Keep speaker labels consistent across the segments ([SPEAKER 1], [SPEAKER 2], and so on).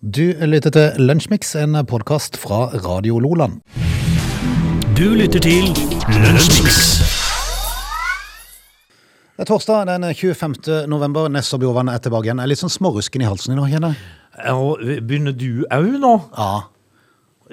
[SPEAKER 1] Du lytter til Lunsjmix, en podkast fra Radio Loland.
[SPEAKER 2] Du lytter til Lunsjmix.
[SPEAKER 1] Det er torsdag den 25. november. Nesse og Bjorvann er tilbake igjen. Jeg er litt sånn smårusken i halsen i dag, kjenner jeg.
[SPEAKER 3] Og begynner du òg nå?
[SPEAKER 1] Ja.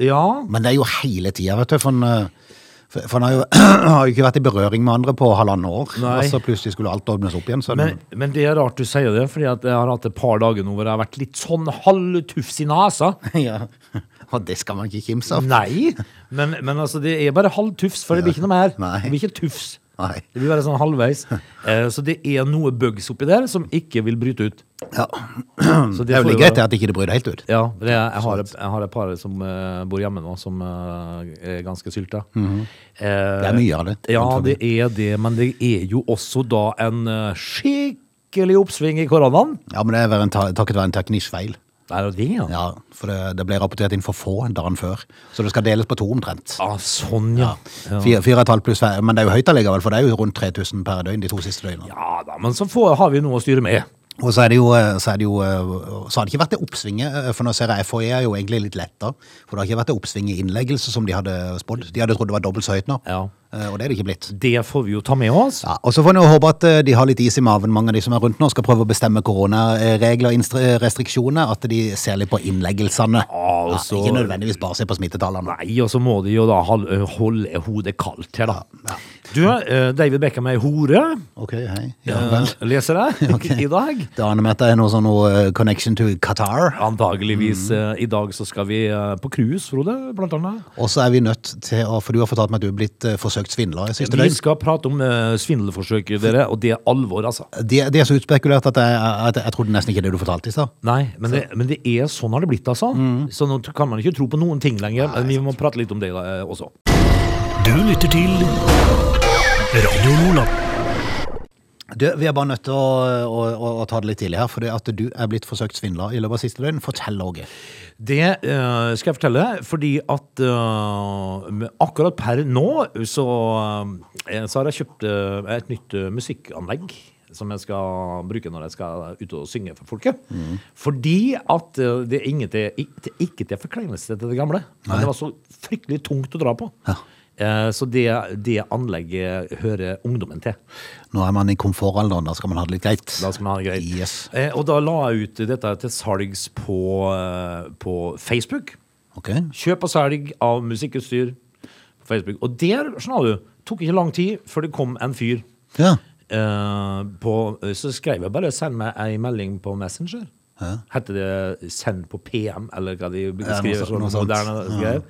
[SPEAKER 3] Ja.
[SPEAKER 1] Men det er jo hele tida, vet du. For han, eh, for- for han har jo, har jo ikke vært i berøring med andre på halvannet år.
[SPEAKER 3] Nei.
[SPEAKER 1] Og så plutselig skulle alt ordnes opp igjen. Så
[SPEAKER 3] Men, men det er rart du sier det, fordi at jeg har hatt et par dager nå hvor jeg har vært litt sånn halvtufs i nesa.
[SPEAKER 1] ja. Og det skal man ikke kimse av.
[SPEAKER 3] Nei, men, men altså, det er bare halvtufs, for det blir ikke noe mer.
[SPEAKER 1] Nei.
[SPEAKER 3] Det blir ikke tufs.
[SPEAKER 1] Nei.
[SPEAKER 3] Det blir bare sånn halvveis. Eh, Så det er noe bugs oppi der som ikke vil bryte ut.
[SPEAKER 1] Ja. Mm.
[SPEAKER 3] Så
[SPEAKER 1] Det er
[SPEAKER 3] får
[SPEAKER 1] vel
[SPEAKER 3] jo
[SPEAKER 1] greit
[SPEAKER 3] være-
[SPEAKER 1] det at ikke det bryr deg helt ut.
[SPEAKER 3] Ja, det er, jeg, har, jeg har et par som eh, bor hjemme nå, som eh, er ganske sylta.
[SPEAKER 1] Mm-hmm. Det er mye av det.
[SPEAKER 3] Ja, det er det, men det er jo også da en eh, skikkelig oppsving i koronaen.
[SPEAKER 1] Ja, men det er vel en ta- takket være en teknisk feil.
[SPEAKER 3] Det er jo det, ja.
[SPEAKER 1] Ja, For det, det ble rapportert inn for få dagen før. Så det skal deles på to omtrent.
[SPEAKER 3] Ah, sånn, ja. Ja.
[SPEAKER 1] Fire, fire og et halvt pluss hver, men det er jo høyt allikevel, for det er jo rundt 3000 per døgn de to siste døgnene.
[SPEAKER 3] ja da, men så får, har vi noe å styre med.
[SPEAKER 1] Og så er det jo, eh, så er det jo eh, så har det ikke vært det oppsvinget, eh, for nå ser jeg FHI er jo egentlig litt letta, for det har ikke vært det oppsvinget i innleggelse som de hadde spådd. De hadde trodd det var dobbelt så høyt nå,
[SPEAKER 3] Ja.
[SPEAKER 1] eh, og det er det ikke blitt.
[SPEAKER 3] Det får vi jo ta med oss.
[SPEAKER 1] Ja, og så får en jo håpe at eh, de har litt is i maven, mange av de som er rundt nå, skal prøve å bestemme koronaregler og instru- restriksjoner, at de ser litt på innleggelsene.
[SPEAKER 3] Ja, og
[SPEAKER 1] Ja,
[SPEAKER 3] så-
[SPEAKER 1] ikke nødvendigvis bare se på smittetallene.
[SPEAKER 3] Nei, og så må de jo da hal- holde hodet kaldt her, da. Du, eh, David Beckham er hore,
[SPEAKER 1] Ok, hei. Ja,
[SPEAKER 3] eh,
[SPEAKER 1] vel.
[SPEAKER 3] leser jeg, i dag.
[SPEAKER 1] Det aner meg at det er noe sånn noe eh, connection to Qatar.
[SPEAKER 3] Antageligvis eh, i dag så skal vi eh, på cruise, Frode, blant annet.
[SPEAKER 1] Og så er vi nødt til å, for du har fortalt meg at du er blitt eh, forsøkt svindla i siste
[SPEAKER 3] Vi
[SPEAKER 1] døgn.
[SPEAKER 3] skal prate om eh, svindelforsøk, dere, og det er alvor, altså.
[SPEAKER 1] De, de er så utspekulert at jeg, at jeg trodde nesten ikke det du fortalte i stad.
[SPEAKER 3] Nei, men det, men det er sånn har det blitt, altså. Så nå kan man ikke tro på noen ting lenger. men vi må prate litt om det eh, også.
[SPEAKER 2] Du lytter til Radio Lola.
[SPEAKER 1] Du, Vi er bare nødt til å, å, å, å ta det litt tidlig her, for det at du er blitt forsøkt svindla i løpet av siste døgn. Fortell, Åge.
[SPEAKER 3] Det eh, skal jeg fortelle, fordi at eh, med- akkurat per nå så, eh, så har jeg kjøpt eh, et nytt eh, musikkanlegg som jeg skal bruke når jeg skal ut og synge for folket. Fordi at eh, det er ingen til, ikke, til- ikke til forkleinelse til det gamle, men det var så fryktelig tungt å dra på.
[SPEAKER 1] Ja.
[SPEAKER 3] Eh, Så det, det anlegget hører ungdommen til.
[SPEAKER 1] Nå er man i komfortalderen, da skal man ha det litt greit.
[SPEAKER 3] Da skal man ha det greit.
[SPEAKER 1] Yes.
[SPEAKER 3] Eh, Og da la jeg ut dette til salgs på, eh, på Facebook.
[SPEAKER 1] Ok.
[SPEAKER 3] Kjøp og salg av musikkutstyr på Facebook. Og der skjønner du, tok ikke lang tid før det kom en fyr.
[SPEAKER 1] Ja.
[SPEAKER 3] Eh, på, så skrev jeg bare 'send meg ei melding på Messenger'.
[SPEAKER 1] Ja.
[SPEAKER 3] Hette det 'send på PM', eller hva de
[SPEAKER 1] noe
[SPEAKER 3] skriver.
[SPEAKER 1] sånt- noe sånt.
[SPEAKER 3] sånn moderne greier.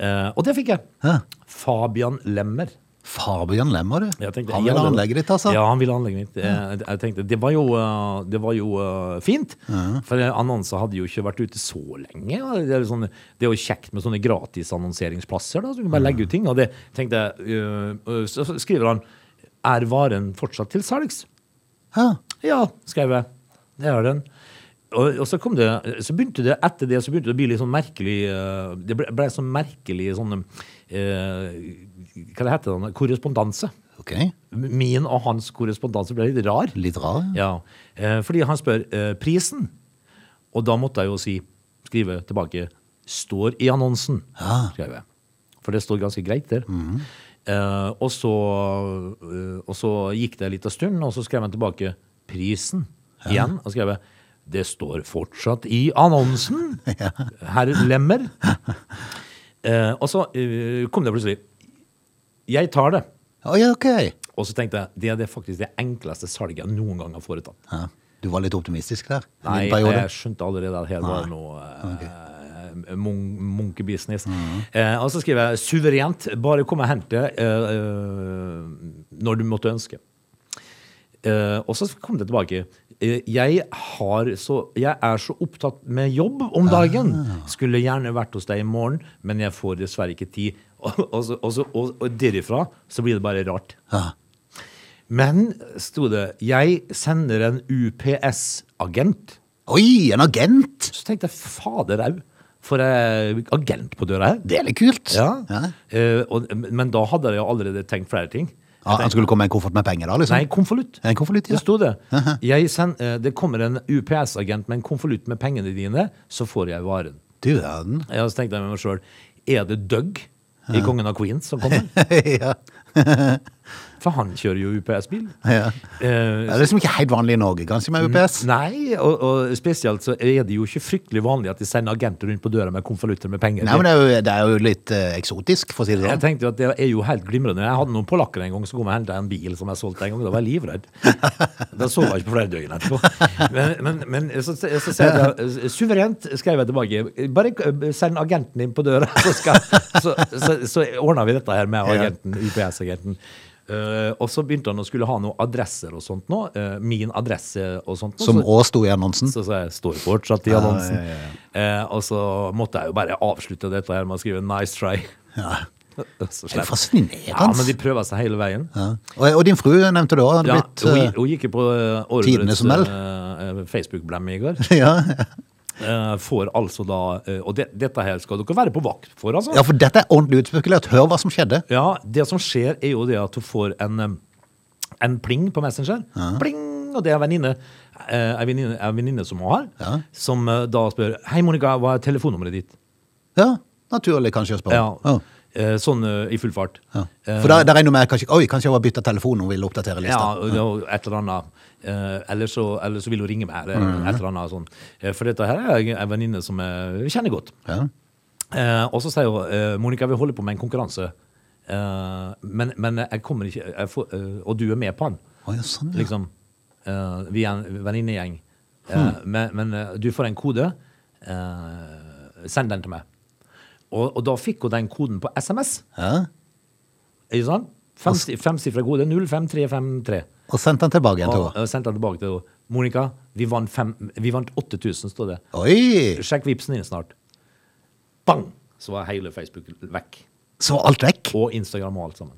[SPEAKER 3] Eh, og det fikk jeg.
[SPEAKER 1] Ja.
[SPEAKER 3] Fabian Lemmer.
[SPEAKER 1] Fabian Lemmer, du.
[SPEAKER 3] Jeg tenkte,
[SPEAKER 1] Han vil
[SPEAKER 3] ja,
[SPEAKER 1] ha
[SPEAKER 3] det-
[SPEAKER 1] anlegget ditt, altså.
[SPEAKER 3] Ja, han ville anlegget ditt. Eh, Jeg tenkte, Det var jo, eh, det var jo eh, fint, for eh, annonser hadde jo ikke vært ute så lenge. og Det er, jo sånn, det er jo kjekt med sånne gratisannonseringsplasser, da, så du kan bare legge ut ting. Og det tenkte jeg, eh, eh, Så skriver han er varen fortsatt til salgs.
[SPEAKER 1] Ja.
[SPEAKER 3] Ja, skrev jeg. Det er den. Og, og så kom det, så begynte det etter det så begynte det å bli litt sånn merkelig eh, Det ble, ble sånn merkelig sånn eh, Hva det heter det? Korrespondanse.
[SPEAKER 1] Ok.
[SPEAKER 3] Min og hans korrespondanse ble litt rar.
[SPEAKER 1] Litt rar. ja.
[SPEAKER 3] Ja, eh, fordi han spør eh, prisen. Og da måtte jeg jo si, skrive tilbake, står i annonsen,
[SPEAKER 1] Ja.
[SPEAKER 3] skrev jeg. For det står ganske greit der. eh, og, så, eh, og så gikk det litt av stund, og så skrev han tilbake prisen igjen. Og skrev jeg, det står fortsatt i annonsen, herr Lemmer. Eh, og så eh, kom det plutselig, jeg tar det.
[SPEAKER 1] Å, ja, ok.
[SPEAKER 3] Og så tenkte jeg, det er det faktisk det enkleste salget jeg noen gang har foretatt.
[SPEAKER 1] Ja. Du var litt optimistisk der? en
[SPEAKER 3] Nei,
[SPEAKER 1] liten periode.
[SPEAKER 3] jeg skjønte allerede at her var det noe eh, mon- munkebusiness. Eh, og så skriver jeg suverent, bare kom og hent det eh, eh, når du måtte ønske. Eh, og så kom det tilbake. Eh, jeg, har så, jeg er så opptatt med jobb om dagen. Skulle gjerne vært hos deg i morgen, men jeg får dessverre ikke tid. Og, og, så- og, så- og, og derifra så blir det bare rart.
[SPEAKER 1] Ja.
[SPEAKER 3] Men, sto det, jeg sender en UPS-agent.
[SPEAKER 1] Oi, en agent!
[SPEAKER 3] Så tenkte jeg, fader au, for jeg agent på døra her.
[SPEAKER 1] Det er litt kult.
[SPEAKER 3] Ja. Eh, og, men da hadde jeg jo allerede tenkt flere ting.
[SPEAKER 1] Ja, han skulle komme med en koffert med penger da, liksom?
[SPEAKER 3] Nei, konvolutt.
[SPEAKER 1] En konvolutt, ja.
[SPEAKER 3] Det sto det. Jeg send, eh, det kommer en UPS-agent med en konvolutt med pengene dine, så får jeg varen.
[SPEAKER 1] Du verden.
[SPEAKER 3] Jeg har tenkt meg med meg sjøl, er det Doug i Kongen av Queens som kommer?
[SPEAKER 1] ja.
[SPEAKER 3] For han kjører jo UPS-bil.
[SPEAKER 1] ja.
[SPEAKER 3] Eh,
[SPEAKER 1] Det er liksom ikke helt vanlig i Norge, kanskje,
[SPEAKER 3] Mm.
[SPEAKER 1] med UPS?
[SPEAKER 3] Nei, og, og spesielt så er det jo ikke fryktelig vanlig at de sender agenter rundt på døra med konvolutter med penger.
[SPEAKER 1] Nei, men det er jo, det er jo litt eh, eksotisk, for å si det
[SPEAKER 3] Mm. Jeg
[SPEAKER 1] sånn.
[SPEAKER 3] tenkte jo at det er jo helt glimrende. Jeg hadde noen polakker en gang som kom og hentet en bil som jeg solgte en gang. Da var jeg livredd. Da sov jeg ikke på flere døgn etterpå. Men, men, men så, så, så sier jeg da, suverent skrev jeg tilbake. Bare eh, send agenten din på døra, så, skal, så, så, så ordner vi dette her med agenten, UPS-agenten. Eh, og så begynte han å skulle ha noen adresser og sånt nå. eh, min adresse og sånt. nå,
[SPEAKER 1] Som
[SPEAKER 3] så-
[SPEAKER 1] òg sto i annonsen.
[SPEAKER 3] Så, så jeg står fortsatt i
[SPEAKER 1] Ja,
[SPEAKER 3] annonsen.
[SPEAKER 1] Mm. ja,
[SPEAKER 3] Eh, og så måtte jeg jo bare avslutte dette her med å skrive 'nice try'.
[SPEAKER 1] Ja.
[SPEAKER 3] Så
[SPEAKER 1] Det er
[SPEAKER 3] slett.
[SPEAKER 1] fascinerende.
[SPEAKER 3] Ja, men de prøver seg hele veien.
[SPEAKER 1] Ja. Og, og din fru nevnte du òg hadde
[SPEAKER 3] Ja,
[SPEAKER 1] blitt
[SPEAKER 3] hun,
[SPEAKER 1] eh,
[SPEAKER 3] hun gikk jo på eh,
[SPEAKER 1] Tidene
[SPEAKER 3] årets
[SPEAKER 1] som meld.
[SPEAKER 3] eh, Facebook-blemme i går.
[SPEAKER 1] ja.
[SPEAKER 3] Eh, får altså da eh, Og det, dette her skal dere være på vakt for, altså.
[SPEAKER 1] ja, for dette er ordentlig utspekulert. Hør hva som skjedde.
[SPEAKER 3] Ja, det som skjer er jo det at du får en, um, en pling på Messenger. Pling! Og det er en venninne eh, en venninne- en venninne som hun har,
[SPEAKER 1] Ja.
[SPEAKER 3] som eh, da spør Hei, Monica, hva er telefonnummeret ditt?
[SPEAKER 1] Ja, Naturlig kanskje å spørre.
[SPEAKER 3] Ja.
[SPEAKER 1] Ja.
[SPEAKER 3] Eh, sånn eh, i full fart. Eh,
[SPEAKER 1] Ja. For da, da regner jeg med kanskje, Oi, kanskje jeg har bytta telefon og vil oppdatere
[SPEAKER 3] Ja,
[SPEAKER 1] lista.
[SPEAKER 3] og det var et eller annet. Eh, eller, så, eller så vil hun ringe meg, eller
[SPEAKER 1] Mm.
[SPEAKER 3] et eller annet sånn. Eh, For dette her er en venninne som jeg kjenner godt.
[SPEAKER 1] Ja.
[SPEAKER 3] Eh, og så sier hun eh, Monica, vi holder på med en konkurranse, Eh, men, men jeg kommer ikke jeg får, eh, Og du er med på den.
[SPEAKER 1] Å, ja, sånn, ja.
[SPEAKER 3] Liksom. Eh, vi er en venninnegjeng. Eh,
[SPEAKER 1] Mm.
[SPEAKER 3] Men, men eh, du får en kode. Eh, send den til meg. Og, og da fikk hun den koden på SMS.
[SPEAKER 1] Ja.
[SPEAKER 3] Ikke sant?
[SPEAKER 1] Altså-
[SPEAKER 3] Femsi- Femsifra kode 05353.
[SPEAKER 1] Og sendte den tilbake igjen til
[SPEAKER 3] Og,
[SPEAKER 1] henne.
[SPEAKER 3] og sendte han tilbake til henne. Monica, vi vant, fem, vi vant 8000, står det.
[SPEAKER 1] Oi!
[SPEAKER 3] Sjekk vipsen din snart. Bang! Så var hele Facebook vekk.
[SPEAKER 1] Så var alt vekk.
[SPEAKER 3] Og Instagram og alt sammen.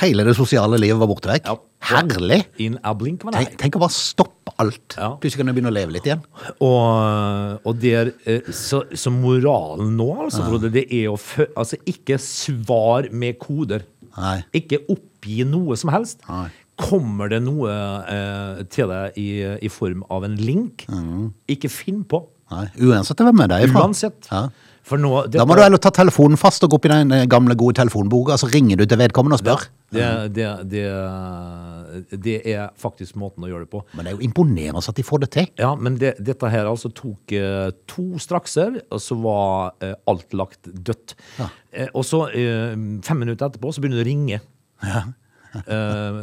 [SPEAKER 1] Hele det sosiale livet var borte vekk.
[SPEAKER 3] Ja.
[SPEAKER 1] Herlig!
[SPEAKER 3] In a blink, var
[SPEAKER 1] Tenk,
[SPEAKER 3] det.
[SPEAKER 1] tenk å bare stoppe alt.
[SPEAKER 3] Ja.
[SPEAKER 1] Plutselig kan du begynne å leve litt igjen.
[SPEAKER 3] Og, og der, eh, så, så moralen nå, altså, Frode, det er å fø, altså, ikke svar med koder.
[SPEAKER 1] Nei.
[SPEAKER 3] Ikke oppgi noe som helst.
[SPEAKER 1] Nei.
[SPEAKER 3] Kommer det noe eh, til deg i, i form av en link,
[SPEAKER 1] Mm.
[SPEAKER 3] ikke finn på.
[SPEAKER 1] Nei. Uansett hvem er det er fra.
[SPEAKER 3] Uansett.
[SPEAKER 1] Ja.
[SPEAKER 3] For nå,
[SPEAKER 1] Da må du heller ta telefonen fast og gå opp i den eh, gamle, gode telefonboka, så ringer du til vedkommende og spør.
[SPEAKER 3] det, det, det, det er faktisk måten å gjøre det på.
[SPEAKER 1] Men det er jo imponerende at de får det til.
[SPEAKER 3] Ja, men det, dette her altså tok eh, to strakser, og så var eh, alt lagt dødt.
[SPEAKER 1] Ja.
[SPEAKER 3] Eh, og så, eh, fem minutter etterpå, så begynner det å ringe. Eh, eh,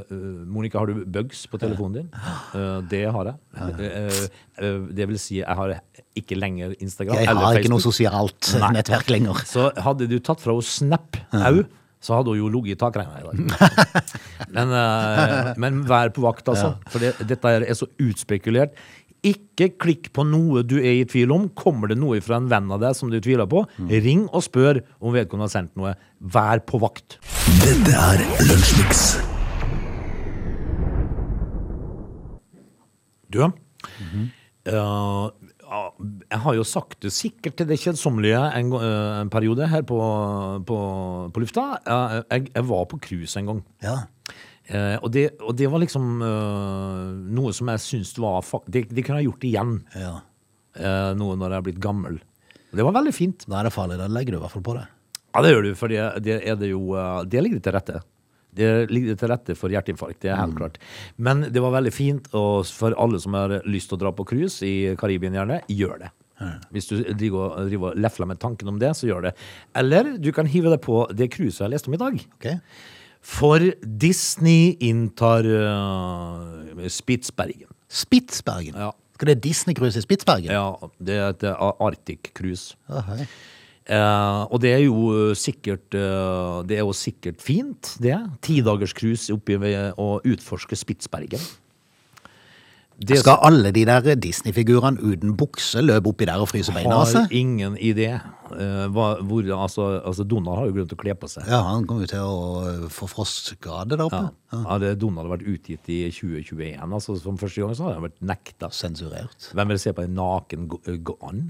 [SPEAKER 3] Monica, har du bugs på telefonen din? Eh, det har jeg. Eh, eh, det vil si, jeg har ikke lenger Instagram
[SPEAKER 1] Jeg
[SPEAKER 3] eller
[SPEAKER 1] har ikke noe
[SPEAKER 3] Facebook.
[SPEAKER 1] sosialt eh, nettverk lenger.
[SPEAKER 3] Så hadde du tatt fra henne Snap au, så hadde hun jo ligget i takrenna i dag. Men, eh, men vær på vakt, altså. For det, dette her er så utspekulert. Ikke klikk på noe du er i tvil om. Kommer det noe fra en venn av deg som du tviler på, ring og spør om vedkommende har sendt noe. Vær på vakt.
[SPEAKER 2] Dette er Lunsjmix.
[SPEAKER 3] Du, eh, ja, jeg har jo sagt det sikkert til det kjedsommelige en, gang- eh, en periode her på, på, på lufta. Eh, jeg, jeg var på cruise en gang.
[SPEAKER 1] Ja.
[SPEAKER 3] Eh, og, det, og det var liksom eh, noe som jeg syns var fak det, det kunne jeg gjort igjen.
[SPEAKER 1] ja.
[SPEAKER 3] eh, noe når jeg er blitt gammel. Og det var veldig fint.
[SPEAKER 1] Da er det farlig. Da legger du i hvert fall på det.
[SPEAKER 3] Ja, det gjør du, for det, det er det jo eh, Det ligger til rette. Det ligger til rette for hjerteinfarkt, det er helt klart. Men det var veldig fint, og for alle som har lyst til å dra på cruise i Karibien, gjerne, gjør det. Hvis du driver og, driver og lefler med tanken om det, så gjør det. Eller du kan hive deg på det cruiset jeg leste om i dag.
[SPEAKER 1] Ok?
[SPEAKER 3] For Disney inntar eh, Spitsbergen.
[SPEAKER 1] Spitsbergen.
[SPEAKER 3] Ja.
[SPEAKER 1] Skal det Disney-cruise i Spitsbergen?
[SPEAKER 3] Ja, det er et eh, Arctic Cruise.
[SPEAKER 1] Å, hei.
[SPEAKER 3] Eh, og det er jo sikkert eh, Det er jo sikkert fint, det. Tidagerscruise oppe ved å utforske Spitsbergen. Det
[SPEAKER 1] Skal alle de der Disney-figurene uten bukse løpe oppi der og fryse beina altså. av
[SPEAKER 3] har
[SPEAKER 1] seg?
[SPEAKER 3] ingen idé. eh, hva, hvor, altså, altså Donald har jo grunn til å kle på seg.
[SPEAKER 1] Ja, han kommer jo til å eh, få frostskade der oppe.
[SPEAKER 3] Ja. Hadde Donald vært utgitt i 2021, altså som første gang, så hadde han vært nekta.
[SPEAKER 1] Sensurert.
[SPEAKER 3] Hvem vil se på en naken gå, gå an?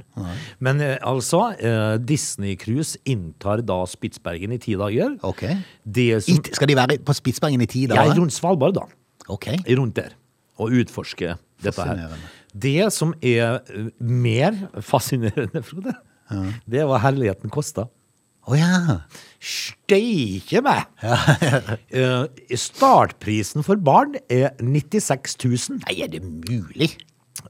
[SPEAKER 3] Men eh, altså, eh, Disney-cruise inntar da Spitsbergen i ti dager.
[SPEAKER 1] Ok.
[SPEAKER 3] Det
[SPEAKER 1] I,
[SPEAKER 3] som
[SPEAKER 1] skal de være på Spitsbergen i ti
[SPEAKER 3] Ja,
[SPEAKER 1] dager?
[SPEAKER 3] rundt Svalbard, da.
[SPEAKER 1] Ok.
[SPEAKER 3] Rundt der. Og utforske dette her.
[SPEAKER 1] Fascinerende.
[SPEAKER 3] Det som er eh, mer fascinerende, Frode, det er hva herligheten koster.
[SPEAKER 1] Å ja.
[SPEAKER 3] Steike meg! Eh, Startprisen for barn er 96 000.
[SPEAKER 1] Nei, er det mulig?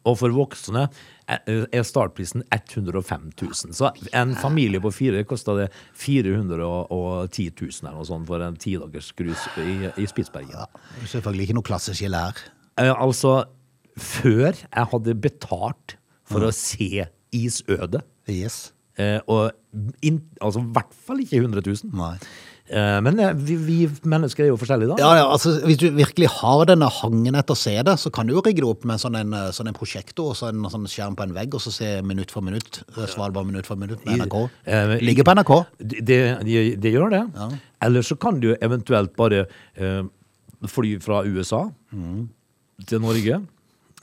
[SPEAKER 3] Og for voksne er er startprisen 105 000. Så en familie på fire kosta det 410 000 eller noe sånt for en tidagers cruise i, i Spitsbergen.
[SPEAKER 1] Ja, selvfølgelig ikke noe klasseskille her.
[SPEAKER 3] Eh, altså, før jeg hadde betalt for å se Isødet,
[SPEAKER 1] Yes.
[SPEAKER 3] eh, og inn- altså i hvert fall ikke 100 000
[SPEAKER 1] Nei.
[SPEAKER 3] Eh, Men eh, vi, vi mennesker er jo forskjellige, da.
[SPEAKER 1] Ja, ja, altså Hvis du virkelig har denne hangen etter å se det, så kan du jo rigge det opp med sånn en, eh, sånn en prosjektor og så en sånn skjerm på en vegg, og så se minutt for minutt. eh, Svalbard minutt for minutt med NRK.
[SPEAKER 3] Eh,
[SPEAKER 1] Ligger på NRK.
[SPEAKER 3] Det, det, det gjør det. Eller så kan du eventuelt bare eh, fly fra USA til Norge.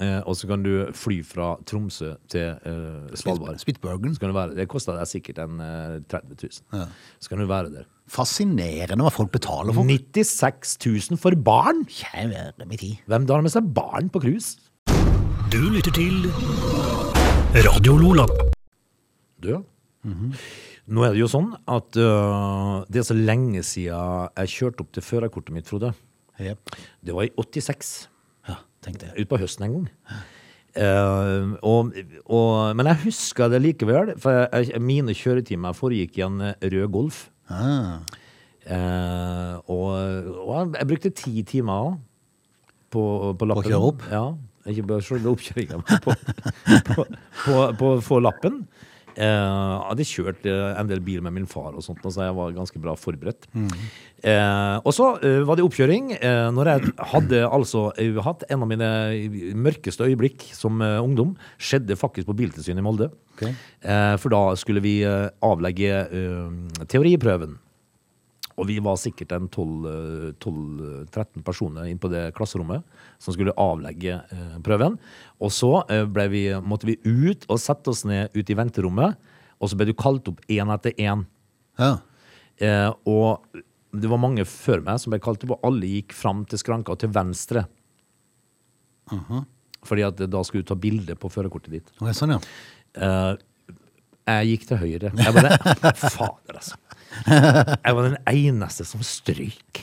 [SPEAKER 3] eh, og så kan du fly fra Tromsø til eh, Svalbard.
[SPEAKER 1] Spitsbergen.
[SPEAKER 3] Så kan du være, det koster deg sikkert en eh, 30 000. Så kan du være der.
[SPEAKER 1] Fascinerende hva folk betaler for.
[SPEAKER 3] 96 000 for barn!
[SPEAKER 1] Kjære min tid.
[SPEAKER 3] Hvem drar med seg barn på cruise?
[SPEAKER 2] Du lytter til Radio Lola.
[SPEAKER 3] Du, ja. Nå er det jo sånn at eh, det er så lenge siden jeg kjørte opp til førerkortet mitt, Frode.
[SPEAKER 1] Jep.
[SPEAKER 3] Det var i 86.
[SPEAKER 1] Ja, tenkte jeg.
[SPEAKER 3] Utpå høsten en gang. Eh, og, og, men jeg husker det likevel, for jeg, mine kjøretimer foregikk i en øh, rød Golf.
[SPEAKER 1] Ah,
[SPEAKER 3] Eh, og, og jeg, jeg brukte ti timer på, på lappen.
[SPEAKER 1] kjøre opp?
[SPEAKER 3] Ja. Ikke bare selve oppkjøringa, men på, på, på, på å få lappen. Eh, jeg hadde kjørt eh, en del bil med min far, og sånt, og så jeg var ganske bra forberedt.
[SPEAKER 1] Mm.
[SPEAKER 3] Eh, og så eh, var det oppkjøring. Eh, når jeg hadde altså eh, hatt en av mine mørkeste øyeblikk som eh, ungdom, skjedde faktisk på Biltilsynet i Molde.
[SPEAKER 1] Ok.
[SPEAKER 3] Eh, for da skulle vi eh, avlegge eh, teoriprøven. Og vi var sikkert en 12, eh, 12, eh, 13 personer inn på det klasserommet som skulle avlegge eh, prøven. Og så eh, ble vi, måtte vi ut og sette oss ned ute i venterommet, og så ble du kalt opp én etter én.
[SPEAKER 1] ja.
[SPEAKER 3] Eh, og det var mange før meg som ble kalt opp, og alle gikk fram til skranka til venstre. Fordi at eh, da skulle du ta bilde på førerkortet ditt.
[SPEAKER 1] Ok, sånn, ja.
[SPEAKER 3] Eh, jeg gikk til høyre. Jeg var den, fader, altså. Jeg var den eneste som strøyk.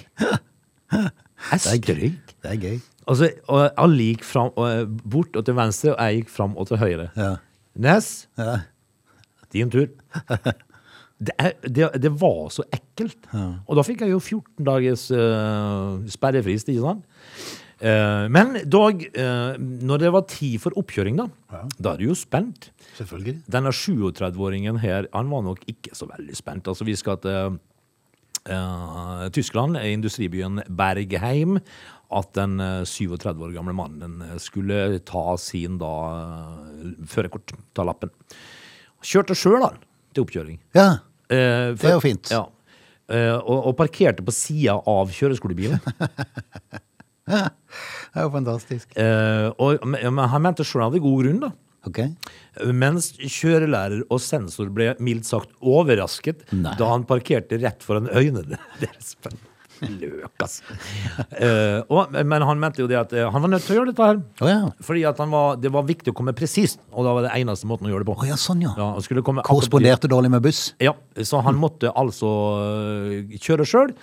[SPEAKER 3] Jeg strøyk.
[SPEAKER 1] Det er gøy.
[SPEAKER 3] Altså, og alle gikk fram, og, eh, bort og til venstre, og jeg gikk fram og til høyre.
[SPEAKER 1] Ja.
[SPEAKER 3] Nes,
[SPEAKER 1] Ja.
[SPEAKER 3] din tur. Det, er, det, det var så ekkelt. Og da fikk jeg jo 14 dagers eh, sperrefrist, ikke sant? Eh, men dog, eh, når det var tid for oppkjøring, da, da er du jo spent.
[SPEAKER 1] Selvfølgelig.
[SPEAKER 3] Denne 37-åringen her, han var nok ikke så veldig spent. Altså, vi skal til eh, Tyskland, i industribyen Bergheim, at den eh, 37 år gamle mannen eh, skulle ta sin da eh, førerkort, ta lappen. Kjørte sjøl, da, til oppkjøring.
[SPEAKER 1] Ja.
[SPEAKER 3] Eh,
[SPEAKER 1] Det er jo fint.
[SPEAKER 3] Ja. Eh, og, og parkerte på sida av kjøreskolebilen.
[SPEAKER 1] Det er jo fantastisk.
[SPEAKER 3] Eh, og, men men han mente sjøl han hadde god grunn, da.
[SPEAKER 1] Ok.
[SPEAKER 3] Mens kjørelærer og sensor ble mildt sagt overrasket da han parkerte rett foran øynene deres. Løk, altså. Eh, og, men han mente jo det at eh, han var nødt til å gjøre dette her.
[SPEAKER 1] Å ja.
[SPEAKER 3] Fordi at han var, det var viktig å komme presist, og da var det eneste måten å gjøre det på.
[SPEAKER 1] Å ja, sånn, ja.
[SPEAKER 3] og skulle komme akkurat-
[SPEAKER 1] Korresponderte dårlig med buss.
[SPEAKER 3] ja, så han måtte altså øh, kjøre sjøl.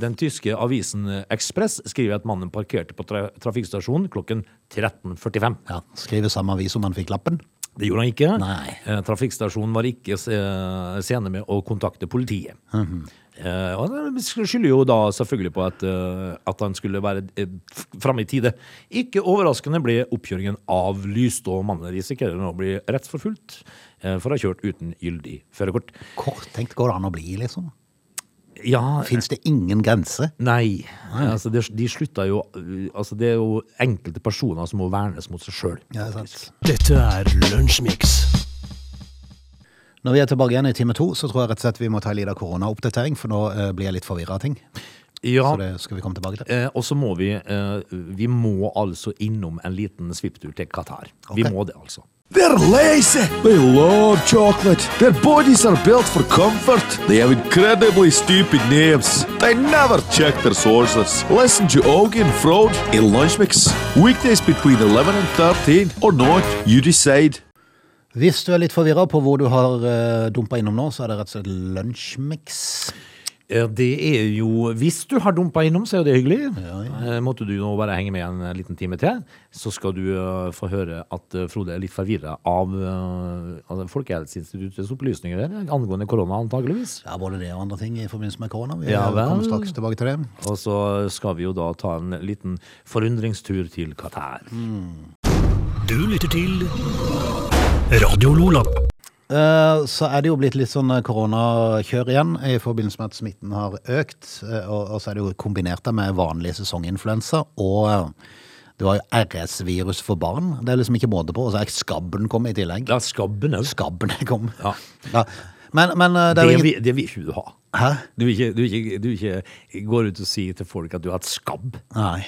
[SPEAKER 3] Den tyske avisen Ekspress skriver at mannen parkerte på tra trafikkstasjonen klokken 13.45.
[SPEAKER 1] Ja, Skrive samme avis som han fikk lappen.
[SPEAKER 3] Det gjorde han ikke.
[SPEAKER 1] Nei.
[SPEAKER 3] Eh, Trafikkstasjonen var ikke eh, sene med å kontakte politiet.
[SPEAKER 1] Mhm.
[SPEAKER 3] Eh, og det skylder jo da selvfølgelig på at, eh, at han skulle være eh, f- framme i tide. Ikke overraskende ble oppkjøringen avlyst, og mannen risikerer nå å bli rettsforfulgt eh, for å ha kjørt uten gyldig førerkort.
[SPEAKER 1] Kort tenkt går det an å bli, liksom.
[SPEAKER 3] Ja,
[SPEAKER 1] Fins det ingen grense?
[SPEAKER 3] Nei. Altså, de, de slutta jo altså, Det er jo enkelte personer som må vernes mot seg sjøl.
[SPEAKER 1] Ja, sant.
[SPEAKER 2] Dette er Lunsjmix.
[SPEAKER 1] Når vi er tilbake igjen i time to, så tror jeg rett og slett vi må ta en liten koronaoppdatering, for nå eh, blir jeg litt forvirra av ting.
[SPEAKER 3] Ja,
[SPEAKER 1] Så det skal vi komme tilbake til.
[SPEAKER 3] eh, og så må vi eh, Vi må altså innom en liten svipptur til Qatar. Vi
[SPEAKER 1] Ok.
[SPEAKER 3] må det, altså.
[SPEAKER 4] They're lazy. They love chocolate. Their bodies are built for comfort. They have incredibly stupid names. They never check their sources. Listen to Augie and Frode in Lunch Mix. Weekdays between 11 and 13 or not, you decide.
[SPEAKER 1] Hvis du er litt forvirra på hvor du har uh, dumpa innom nå, så er det rett og slett lunsjmix.
[SPEAKER 3] Eh, Det er jo Hvis du har dumpa innom, så er jo det hyggelig. Eh, Måtte du nå bare henge med en eh, liten time til, så skal du eh, få høre at eh, Frode er litt forvirra av eh, altså Folkehelseinstituttets opplysninger der, angående korona, antageligvis.
[SPEAKER 1] Ja, både det og andre ting i forbindelse med korona. Vi
[SPEAKER 3] Ja,
[SPEAKER 1] eh, kommer
[SPEAKER 3] vel.
[SPEAKER 1] straks tilbake til det.
[SPEAKER 3] Og så skal vi jo da ta en liten forundringstur til Qatar.
[SPEAKER 1] Mm.
[SPEAKER 2] Du lytter til Radio Lola.
[SPEAKER 1] Eh, Så er det jo blitt litt sånn eh, koronakjør igjen i forbindelse med at smitten har økt. eh, Og og så er det jo kombinert det med vanlig sesonginfluensa. Og eh, det var jo RS-virus for barn. Det er liksom ikke måte på. Og så er skabben kommet i tillegg.
[SPEAKER 3] Ja, skabben òg.
[SPEAKER 1] Skabben er kommet.
[SPEAKER 3] Ja.
[SPEAKER 1] Ja. Men, men eh,
[SPEAKER 3] Det,
[SPEAKER 1] det er jo ingen
[SPEAKER 3] vil- det vil ikke du ha.
[SPEAKER 1] Hæ?
[SPEAKER 3] Du vil ikke, du vil ikke, du vil ikke gå ut og si til folk at du har hatt skabb.
[SPEAKER 1] Nei.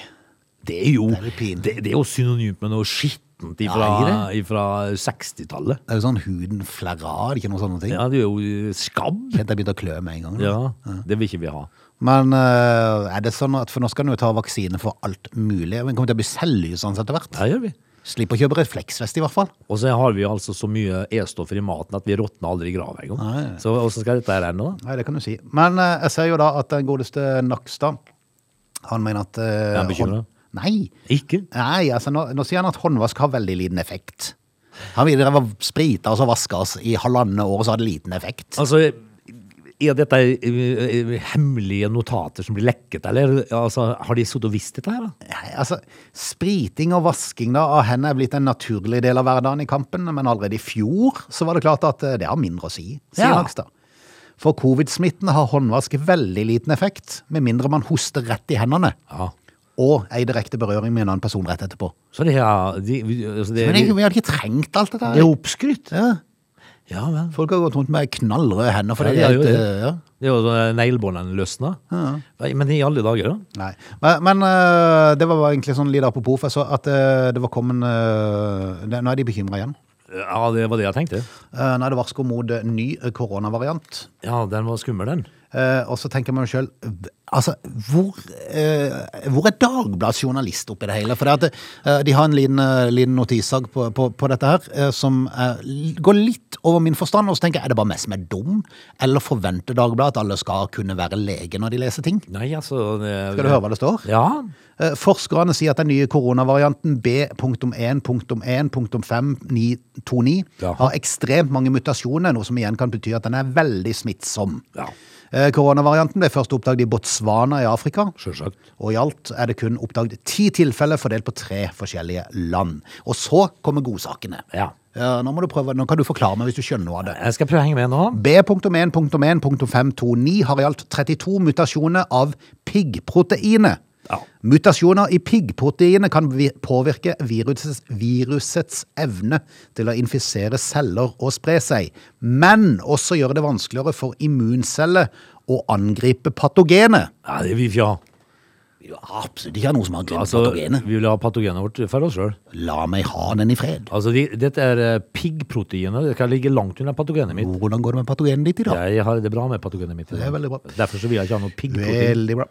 [SPEAKER 3] Det er jo,
[SPEAKER 1] er litt pinlig.
[SPEAKER 3] det, det er jo synonymt med noe skittent
[SPEAKER 1] Ja,
[SPEAKER 3] ifra, ifra 60-tallet.
[SPEAKER 1] Det er jo sånn huden flerrer, ikke noen sånne ting.
[SPEAKER 3] Ja, det er jo eh, skabb.
[SPEAKER 1] Kjente jeg begynte å klø med en gang. nå.
[SPEAKER 3] Ja, det vil ikke vi ha.
[SPEAKER 1] Men eh, er det sånn at For nå skal en jo ta vaksine for alt mulig. Men kommer til å bli selvlysende sånn etter hvert.
[SPEAKER 3] Det gjør vi.
[SPEAKER 1] Slipper å kjøpe refleksvest, i hvert fall.
[SPEAKER 3] Og så har vi altså så mye E-stoffer i maten at vi råtner aldri i grava engang.
[SPEAKER 1] Nei.
[SPEAKER 3] Så hvordan skal dette her ende, da?
[SPEAKER 1] Nei, det kan du si. Men eh, jeg ser jo da at den godeste Nakstad, han mener at eh,
[SPEAKER 3] Er han bekymret?
[SPEAKER 1] hånd- Nei.
[SPEAKER 3] Ikke?
[SPEAKER 1] Nei, altså nå, nå sier han at håndvask har veldig liten effekt. Han ville drevet og sprita oss og vaska oss i halvannet år, og så hadde det liten effekt.
[SPEAKER 3] Altså, er dette eh, eh, hemmelige notater som blir lekket, eller? Altså, har de sittet og visst dette her, da?
[SPEAKER 1] Nei, altså, Spriting og vasking da av hendene er blitt en naturlig del av hverdagen i kampen, men allerede i fjor så var det klart at eh, det har mindre å si, sier
[SPEAKER 3] Ja.
[SPEAKER 1] Nakstad. For covid-smitten har håndvask veldig liten effekt, med mindre man hoster rett i hendene.
[SPEAKER 3] Ja.
[SPEAKER 1] Og ei direkte berøring med en annen person rett etterpå.
[SPEAKER 3] Så det er de, altså det,
[SPEAKER 1] Men jeg, vi hadde ikke trengt alt dette.
[SPEAKER 3] det er
[SPEAKER 1] her.
[SPEAKER 3] oppskrytt.
[SPEAKER 1] Ja.
[SPEAKER 3] Ja vel.
[SPEAKER 1] Folk har gått rundt med knallrøde hender. For
[SPEAKER 3] Ja,
[SPEAKER 1] det,
[SPEAKER 3] de har
[SPEAKER 1] er
[SPEAKER 3] jo
[SPEAKER 1] helt,
[SPEAKER 3] det.
[SPEAKER 1] eh, ja.
[SPEAKER 3] Det er jo sånn neglebåndene løsna. Nei, Men i alle dager, da?
[SPEAKER 1] Nei. Men, men eh, det var bare egentlig sånn litt apropos, for jeg så at eh, det var kommet eh, det- Nå er de bekymra igjen.
[SPEAKER 3] Ja, det var det jeg tenkte.
[SPEAKER 1] Eh, Nå er det varsko mot eh, ny eh, koronavariant.
[SPEAKER 3] Ja, den var skummel, den.
[SPEAKER 1] Eh, Og så tenker man jo sjøl Altså, hvor, eh, hvor er Dagbladets journalist oppi det hele? For det at, eh, de har en liten, eh, liten notissag på, på, på dette her eh, som eh, l- går litt over min forstand. Og så tenker jeg, er det bare meg som er dum? Eller forventer Dagbladet at alle skal kunne være lege når de leser ting?
[SPEAKER 3] Nei, altså det-
[SPEAKER 1] Skal du høre hva det står?
[SPEAKER 3] Ja.
[SPEAKER 1] Eh, Forskerne sier at den nye koronavarianten B.1.1.5929
[SPEAKER 3] Ja.
[SPEAKER 1] har ekstremt mange mutasjoner, noe som igjen kan bety at den er veldig smittsom.
[SPEAKER 3] Ja.
[SPEAKER 1] Eh, Koronavarianten ble først oppdaget i Botswana i Afrika.
[SPEAKER 3] Sjølsagt.
[SPEAKER 1] Og i alt er det kun oppdaget ti tilfeller fordelt på tre forskjellige land. Og så kommer godsakene.
[SPEAKER 3] Ja.
[SPEAKER 1] Eh, Nå, må du prøve, nå kan du forklare meg hvis du skjønner noe av det.
[SPEAKER 3] Jeg skal prøve å henge med nå.
[SPEAKER 1] B.1.1.529 har i alt 32 mutasjoner av piggproteinet.
[SPEAKER 3] Ja.
[SPEAKER 1] Mutasjoner i piggproteinet kan vi- påvirke virusets, virusets evne til å infisere celler og spre seg, men også gjøre det vanskeligere for immunceller å angripe patogenet.
[SPEAKER 3] Ja, det vil vi ikke ha.
[SPEAKER 1] Det er jo absolutt ikke noe som har glemt
[SPEAKER 3] Altså,
[SPEAKER 1] patogenet.
[SPEAKER 3] vi vil ha patogenet vårt for oss sjøl.
[SPEAKER 1] La meg ha den i fred.
[SPEAKER 3] Altså, de, dette er eh, piggproteinet. Det kan ligge langt unna patogenet mitt.
[SPEAKER 1] Hvordan går det med patogenet ditt i dag?
[SPEAKER 3] Jeg har det bra med patogenet mitt. i dag.
[SPEAKER 1] Det er veldig bra.
[SPEAKER 3] Derfor så vil jeg ikke ha noe piggprotein.
[SPEAKER 1] Veldig bra.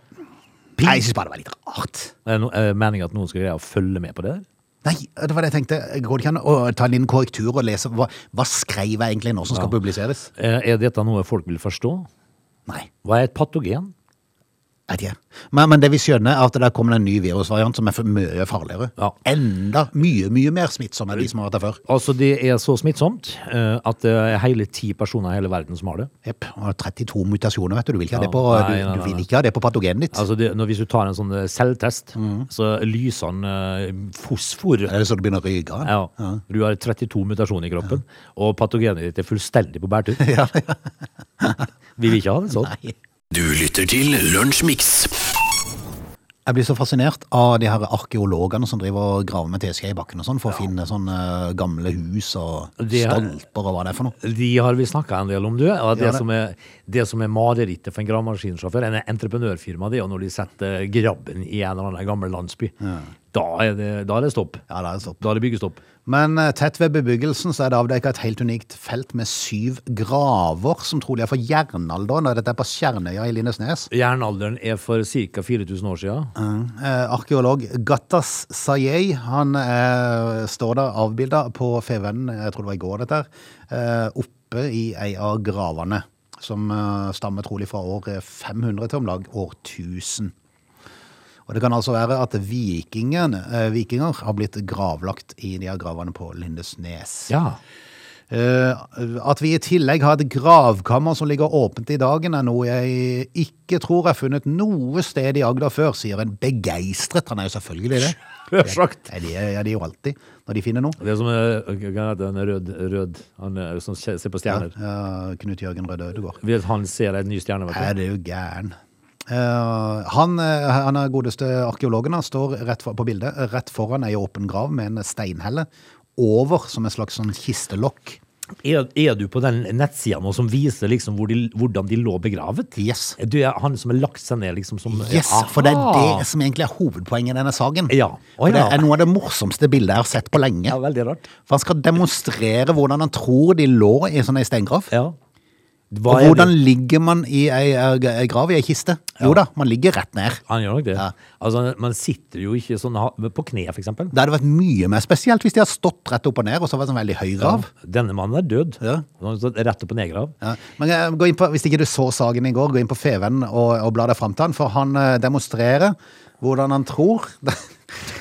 [SPEAKER 1] Nei, jeg synes bare det var litt rart.
[SPEAKER 3] Er det no- er det meningen at noen skal greie å følge med på det? der?
[SPEAKER 1] Nei, det var det jeg tenkte. Går det ikke an å ta en liten korrektur og lese hva, hva skrev jeg egentlig nå som skal
[SPEAKER 3] Ja.
[SPEAKER 1] publiseres?
[SPEAKER 3] Eh, Er dette noe folk vil forstå?
[SPEAKER 1] Nei,
[SPEAKER 3] Hva er et patogen?
[SPEAKER 1] jeg vet ikke. Men, men det vi skjønner er at det der kommer en ny virusvariant som er for mye farligere.
[SPEAKER 3] Ja.
[SPEAKER 1] Enda mye, mye mer smittsom enn de som har vært der før.
[SPEAKER 3] Altså, det er så smittsomt eh, at det er hele ti personer i hele verden som har det.
[SPEAKER 1] Jepp, og 32 mutasjoner, vet du. Du vil ikke ha
[SPEAKER 3] Ja.
[SPEAKER 1] det på,
[SPEAKER 3] Nei,
[SPEAKER 1] du,
[SPEAKER 3] nei,
[SPEAKER 1] du
[SPEAKER 3] nei,
[SPEAKER 1] vil
[SPEAKER 3] nei.
[SPEAKER 1] ikke ha det på patogenet ditt.
[SPEAKER 3] Altså, det, når, hvis du tar en sånn eh, selvtest,
[SPEAKER 1] Mm.
[SPEAKER 3] så lyser den eh, fosfor.
[SPEAKER 1] Er det så du begynner å ryke av?
[SPEAKER 3] Ja. Du har 32 mutasjoner i kroppen, og patogenet ditt er fullstendig på bærtur. Vi vil ikke ha det sånn.
[SPEAKER 1] Nei.
[SPEAKER 2] Du lytter til Lunsjmix.
[SPEAKER 1] Jeg blir så fascinert av de her arkeologene som driver og graver med teskje i bakken og sånn for å finne sånne gamle hus og
[SPEAKER 3] Det er-
[SPEAKER 1] stolper og hva det er for noe.
[SPEAKER 3] De har vi snakka en del om, du. Og det,
[SPEAKER 1] det.
[SPEAKER 3] som er, det som er marerittet for en gravemaskinsjåfør, en entreprenørfirma, det er jo når de setter eh, grabben i en eller annen gammel landsby. Da, er det, da er det stopp.
[SPEAKER 1] Ja, det er stopp.
[SPEAKER 3] Da er det byggestopp.
[SPEAKER 1] Men eh, tett ved bebyggelsen så er det avdekket et helt unikt felt med syv graver, som trolig er fra jernalderen. og Dette er på Skjernøya i Lindesnes.
[SPEAKER 3] Jernalderen er for ca. 4000 år siden.
[SPEAKER 1] Eh, Arkeolog Gattas Sayei han eh, står der avbilda på Fevennen, jeg tror det var i går dette, her, eh, oppe i ei av gravene, som eh, stammer trolig fra år 500 til om lag år 1000. Og det kan altså være at vikingen, eh, vikinger har blitt gravlagt i de her gravene på Lindesnes.
[SPEAKER 3] Ja.
[SPEAKER 1] Eh, At vi i tillegg har et gravkammer som ligger åpent i dagen, er noe jeg ikke tror er funnet noe sted i Agder før, sier en begeistret. Han er jo selvfølgelig det.
[SPEAKER 3] Sjølsagt.
[SPEAKER 1] Ja, de er ja, de er jo alltid når de finner noe.
[SPEAKER 3] Det er som eh, er, hva heter han rød, rød Han er, som se- ser på
[SPEAKER 1] Ja,
[SPEAKER 3] stjerner.
[SPEAKER 1] ja, Knut Jørgen Røde Ødegård.
[SPEAKER 3] Vet han ser en ny stjerne, vet du.
[SPEAKER 1] Er det jo gæren. Eh, han, eh, han er godeste arkeologen. Han står rett for, på bildet rett foran ei åpen grav med en steinhelle over som en slags sånn kistelokk.
[SPEAKER 3] Er, er du på den nettsida nå som viser liksom hvor de, hvordan de lå begravet?
[SPEAKER 1] Yes.
[SPEAKER 3] Du er han som har lagt seg ned, liksom? Som,
[SPEAKER 1] Yes, for det er
[SPEAKER 3] Ah!
[SPEAKER 1] det som egentlig er hovedpoenget i denne saken.
[SPEAKER 3] Ja. Å,
[SPEAKER 1] For det
[SPEAKER 3] ja.
[SPEAKER 1] er noe av det morsomste bildet jeg har sett på lenge.
[SPEAKER 3] Ja, veldig rart.
[SPEAKER 1] For han skal demonstrere hvordan han tror de lå i en sånn ei steingrav.
[SPEAKER 3] Ja. Hva
[SPEAKER 1] Og
[SPEAKER 3] er
[SPEAKER 1] hvordan
[SPEAKER 3] det?
[SPEAKER 1] ligger man i ei eh, g- ei grav, i ei kiste? Jo da, man ligger rett ned.
[SPEAKER 3] Han gjør nok det.
[SPEAKER 1] Ja.
[SPEAKER 3] Altså, man sitter jo ikke sånn ha- på kne, for eksempel.
[SPEAKER 1] Det hadde vært mye mer spesielt hvis de hadde stått rett opp og ned, og så var det en sånn veldig høy grav.
[SPEAKER 3] Denne mannen er død.
[SPEAKER 1] Ja.
[SPEAKER 3] Han står Rett opp og nedgrav.
[SPEAKER 1] Ja. Men eh, gå inn på, hvis ikke du så saken i går, gå inn på Feven og, og bla deg fram til han, for han eh, demonstrerer hvordan han tror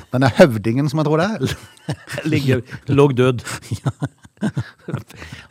[SPEAKER 1] Denne høvdingen, som jeg tror det er.
[SPEAKER 3] Ligger, lå død. altså,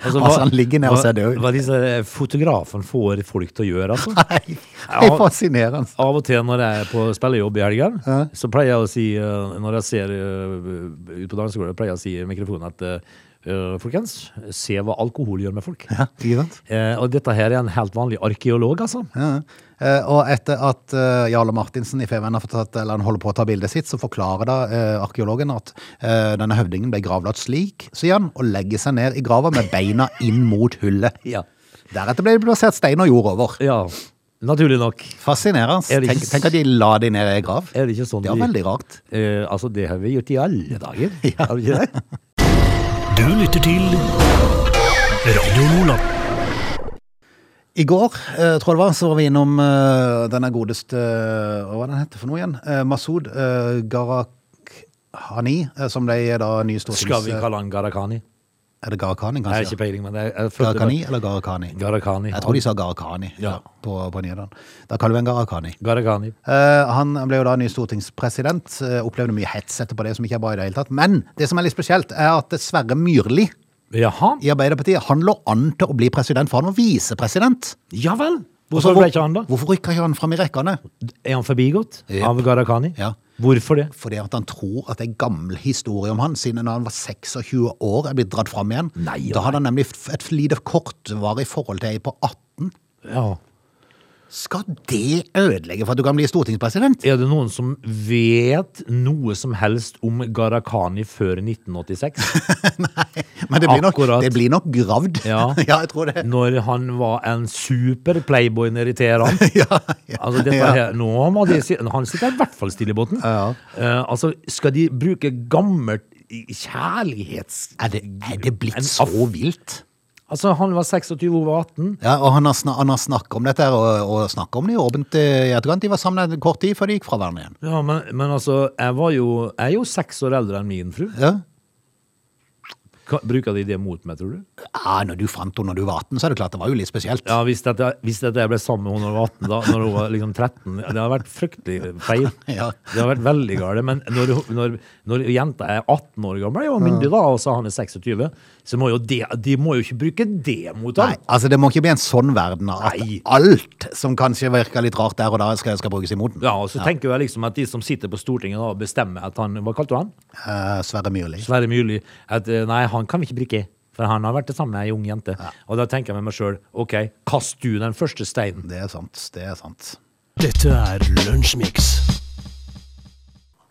[SPEAKER 1] Altså, han ligger ned og ser død ut.
[SPEAKER 3] Hva disse eh, fotografene får folk til å gjøre, altså.
[SPEAKER 1] Nei, det er fascinerende.
[SPEAKER 3] Av og til når jeg er på spillejobb i helgen, så pleier jeg å si, eh, når jeg ser eh, ut på dansegulvet, pleier jeg å si i mikrofonen at eh, eh, folkens, se hva alkohol gjør med folk.
[SPEAKER 1] Ja, ikke sant?
[SPEAKER 3] Eh, og dette her er en helt vanlig arkeolog, altså.
[SPEAKER 1] Ja. Eh, Og etter at eh, Jarle Martinsen i Feven har fortalt, eller han holder på å ta bildet sitt, så forklarer da eh, arkeologen at eh, denne høvdingen ble gravlagt slik, sier han, og legger seg ned i grava med beina inn mot hullet.
[SPEAKER 3] Ja.
[SPEAKER 1] Deretter ble det plassert stein og jord over.
[SPEAKER 3] Ja, naturlig nok.
[SPEAKER 1] Fascinerende.
[SPEAKER 3] Er det ikke-
[SPEAKER 1] Tenk, tenk at de la de ned i grav.
[SPEAKER 3] Er det ikke sånn
[SPEAKER 1] Det er
[SPEAKER 3] de-
[SPEAKER 1] veldig rart.
[SPEAKER 3] Eh, altså, det har vi gjort i alle dager. Har vi ikke det?
[SPEAKER 2] Du lytter til Radio Lola.
[SPEAKER 1] I går, eh, tror jeg det var, så var vi innom eh, denne godeste eh, Hva er den heter for noe igjen? Eh, Masud eh, Garakhani, eh, som ble da ny stortings...
[SPEAKER 3] Skal vi kalle han Garakhani?
[SPEAKER 1] Er det Garakhani,
[SPEAKER 3] Jeg
[SPEAKER 1] kanskje?
[SPEAKER 3] har ikke peiling, men jeg, jeg følte
[SPEAKER 1] Altså- Garakani eller Garakani?
[SPEAKER 3] Garakhani.
[SPEAKER 1] Jeg tror de sa Garakani
[SPEAKER 3] Ja.
[SPEAKER 1] ja, på, på Nydalen. Da kaller vi en Garakani.
[SPEAKER 3] Garakhani.
[SPEAKER 1] Eh, han ble jo da ny stortingspresident. eh, opplevde mye hets etterpå det, som ikke er bra i det hele tatt. Men det som er litt spesielt, er at Sverre Myrli
[SPEAKER 3] Jaha.
[SPEAKER 1] i Arbeiderpartiet han lå an til å bli president, for han var visepresident.
[SPEAKER 3] Ja vel!
[SPEAKER 1] Og så
[SPEAKER 3] Hvorfor ble ikke han da?
[SPEAKER 1] Hvorfor rykka ikke han fram i rekkene?
[SPEAKER 3] Er han forbigått av Garakhani?
[SPEAKER 1] Ja.
[SPEAKER 3] Hvorfor det?
[SPEAKER 1] Fordi at han tror at det er gammel historie om han, siden når han var 26 år, er blitt dratt fram igjen.
[SPEAKER 3] Nei,
[SPEAKER 1] da
[SPEAKER 3] nei.
[SPEAKER 1] hadde han nemlig f- et lite kortvarig forhold til ei på 18.
[SPEAKER 3] Ja.
[SPEAKER 1] Skal det ødelegge for at du kan bli stortingspresident?
[SPEAKER 3] Er det noen som vet noe som helst om Garakhani før 1986?
[SPEAKER 1] Nei, men det blir, nok,
[SPEAKER 3] Akkurat.
[SPEAKER 1] det blir nok gravd.
[SPEAKER 3] Ja.
[SPEAKER 1] jeg tror det.
[SPEAKER 3] Når han var en super playboy nede i Teheran?
[SPEAKER 1] Ja, ja.
[SPEAKER 3] Altså dette
[SPEAKER 1] Ja.
[SPEAKER 3] her, nå må de si, Han sitter i hvert fall stille i båten.
[SPEAKER 1] Ja.
[SPEAKER 3] Eh, altså, skal de bruke gammelt kjærlighets...
[SPEAKER 1] Er det, er det blitt
[SPEAKER 3] En
[SPEAKER 1] så
[SPEAKER 3] aff-
[SPEAKER 1] vilt?
[SPEAKER 3] Altså, han var 26, hun var 18.
[SPEAKER 1] Ja, og han har, sna han har snakket om dette her, og, og snakket om det i åpent eh, i etterkant. De var sammen en kort tid før de gikk fra hverandre igjen.
[SPEAKER 3] Ja, men, men altså, jeg var jo Jeg er jo seks år eldre enn min fru.
[SPEAKER 1] Ja.
[SPEAKER 3] Ka- Bruker de det mot meg, tror du?
[SPEAKER 1] ja, når du fant henne når du var 18, så er det klart det var jo litt spesielt.
[SPEAKER 3] Ja, Hvis dette, hvis dette jeg ble sammen med henne da hun var 18, da når hun var liksom 13 Det hadde vært fryktelig feil.
[SPEAKER 1] Ja.
[SPEAKER 3] Det hadde vært veldig galt. Men når, hun- når, når jenta er 18 år gammel ja, og myndig, da, og så han er 26, så må jo de, de må jo ikke bruke det mot ham.
[SPEAKER 1] Nei, altså det må ikke bli en sånn verden at
[SPEAKER 3] Nei.
[SPEAKER 1] alt som kanskje virker litt rart der og da skal, skal brukes imot den.
[SPEAKER 3] Ja, og så tenker jeg liksom at de som sitter på Stortinget da og bestemmer at han Hva kalte du han?
[SPEAKER 1] Eh, Sverre Myrli.
[SPEAKER 3] Sverre Myrli. At eh, nei, han kan vi ikke bruke For han har vært det samme med ei ung jente. Og da tenker jeg med meg sjøl OK, kast du den første steinen.
[SPEAKER 1] Det er sant. Det er sant.
[SPEAKER 2] Dette er Lunsjmix.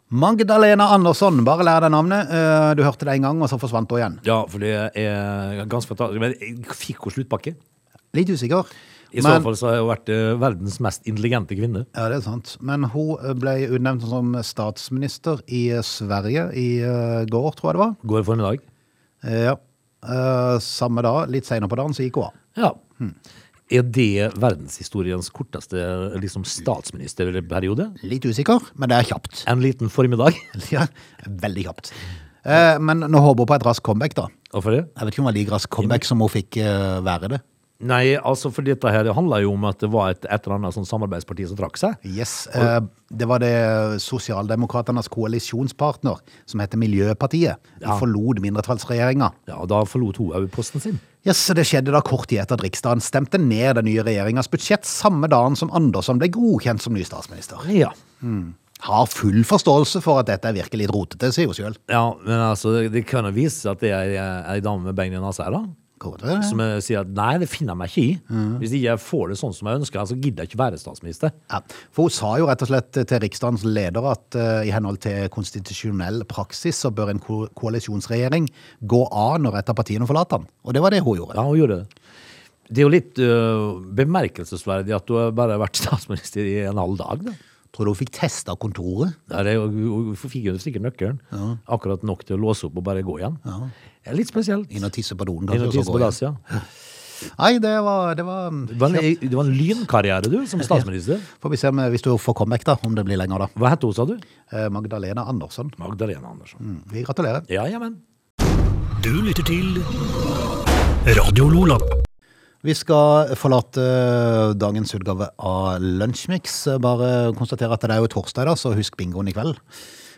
[SPEAKER 1] Magdalena Andersson, bare lær deg navnet. Eh, Du hørte det en gang, og så forsvant hun igjen.
[SPEAKER 3] Ja, for det er ganske fantastisk. Men jeg fikk hun sluttpakke?
[SPEAKER 1] Litt usikker.
[SPEAKER 3] I så
[SPEAKER 1] Men,
[SPEAKER 3] fall så har hun vært eh, verdens mest intelligente kvinne.
[SPEAKER 1] ja, det er sant. Men hun eh, ble utnevnt som statsminister i Sverige i eh, går, tror jeg det var.
[SPEAKER 3] Går formiddag.
[SPEAKER 1] Eh, Ja. Eh, Samme da, litt senere på dagen, så gikk hun av.
[SPEAKER 3] Ja. Hmm. Er det verdenshistoriens korteste liksom, statsministerperiode?
[SPEAKER 1] Litt usikker, men det er kjapt.
[SPEAKER 3] En liten formiddag?
[SPEAKER 1] Ja, veldig kjapt. Eh, Men nå håper hun på et raskt comeback, da.
[SPEAKER 3] Hvorfor det?
[SPEAKER 1] Jeg vet ikke om det var like raskt comeback som hun fikk eh, være det.
[SPEAKER 3] Nei, altså for dette her, det handler jo om at det var et, et eller annet sånn samarbeidsparti som trakk seg.
[SPEAKER 1] Yes, eh, Det var det Sosialdemokraternes koalisjonspartner, som heter Miljøpartiet. De
[SPEAKER 3] Ja.
[SPEAKER 1] forlot mindretallsregjeringa.
[SPEAKER 3] Ja, og Da forlot hun òg posten sin.
[SPEAKER 1] Yes, det skjedde da kort tid etter at Riksdagen stemte ned den nye regjeringas budsjett samme dagen som Andersson ble godkjent som ny statsminister.
[SPEAKER 3] Ja.
[SPEAKER 1] Har full forståelse for at dette er virkelig litt rotete, sier hun sjøl.
[SPEAKER 3] ja, men altså, det, det kan jo vise seg at det er ei- ei dame med bein i nesa her, da. Som eh, sier at nei, det finner jeg meg ikke i. Hvis ikke jeg får det sånn som jeg ønsker, så gidder jeg ikke være statsminister.
[SPEAKER 1] Ja, for Hun sa jo rett og slett til Riksdagens leder at eh, i henhold til konstitusjonell praksis så bør en ko koalisjonsregjering gå av når et av partiene forlater den. Og det var det hun gjorde.
[SPEAKER 3] Ja, hun gjorde det. Det er jo litt øh, bemerkelsesverdig at du har bare vært statsminister i en halv dag. Da.
[SPEAKER 1] Tror du hun fikk testa kontoret?
[SPEAKER 3] Ja, det er jo- Hun hun fikk jo sikkert nøkkelen. Akkurat nok til å låse opp og bare gå igjen. Det er Litt spesielt.
[SPEAKER 1] Inn og tisse på doen,
[SPEAKER 3] Inn
[SPEAKER 1] kanskje.
[SPEAKER 3] og
[SPEAKER 1] og så
[SPEAKER 3] tisse på
[SPEAKER 1] gå
[SPEAKER 3] dass,
[SPEAKER 1] igjen.
[SPEAKER 3] ja.
[SPEAKER 1] Nei, det var, det var
[SPEAKER 3] Det var, en, det var en lynkarriere, du, som statsminister.
[SPEAKER 1] Får vi se om, eh, hvis du får comeback, da, om det blir lenger, da.
[SPEAKER 3] Hva het hun, sa du?
[SPEAKER 1] Eh, Magdalena Andersson.
[SPEAKER 3] Magdalena Andersson.
[SPEAKER 1] Vi gratulerer.
[SPEAKER 3] Ja, ja, men.
[SPEAKER 2] Du lytter til Radio Lola.
[SPEAKER 1] Vi skal forlate dagens utgave av Lunsjmix. Bare konstatere at det er jo torsdag, da, så husk bingoen i kveld.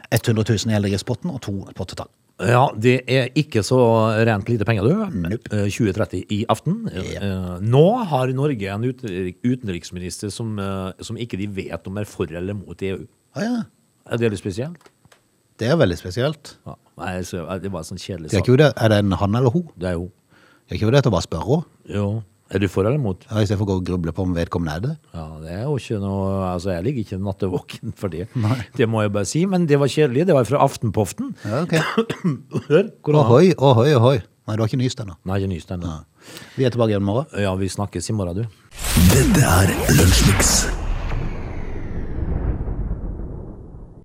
[SPEAKER 1] 100 000 i Heldighetspotten og to pottetall.
[SPEAKER 3] Ja, det er ikke så rent lite penger, du.
[SPEAKER 1] Nope.
[SPEAKER 3] Eh, 2030 i aften. Eh, eh, Nå har Norge en utenrik- utenriksminister som, eh, som ikke de vet om er for eller mot EU.
[SPEAKER 1] Ah, ja.
[SPEAKER 3] Er det litt spesielt?
[SPEAKER 1] Det er veldig spesielt.
[SPEAKER 3] Ja. Nei, så, eh, det var en sånn kjedelig
[SPEAKER 1] Det er,
[SPEAKER 3] sak.
[SPEAKER 1] ikke jo det. er det en han eller hun?
[SPEAKER 3] Det er jo
[SPEAKER 1] Det er ikke jo det til å bare spørre henne?
[SPEAKER 3] Jo. Er du for eller mot?
[SPEAKER 1] Ja, Istedenfor å gå og gruble på om vedkommende er det.
[SPEAKER 3] Ja, det er jo ikke noe Altså, jeg ligger ikke nattevåken for det. Det må jeg bare si. Men det var kjedelig. Det var fra Aftenpoften.
[SPEAKER 1] Ja, ok.
[SPEAKER 3] Hør, korona.
[SPEAKER 1] Ohoi, ohoi, ohoi. Nei, du har ikke nyst ennå.
[SPEAKER 3] Nei, ikke nyst ennå.
[SPEAKER 1] Vi er tilbake igjen i morgen.
[SPEAKER 3] Ja, vi snakkes i morgen, du.
[SPEAKER 2] Dette er Lunsjmix.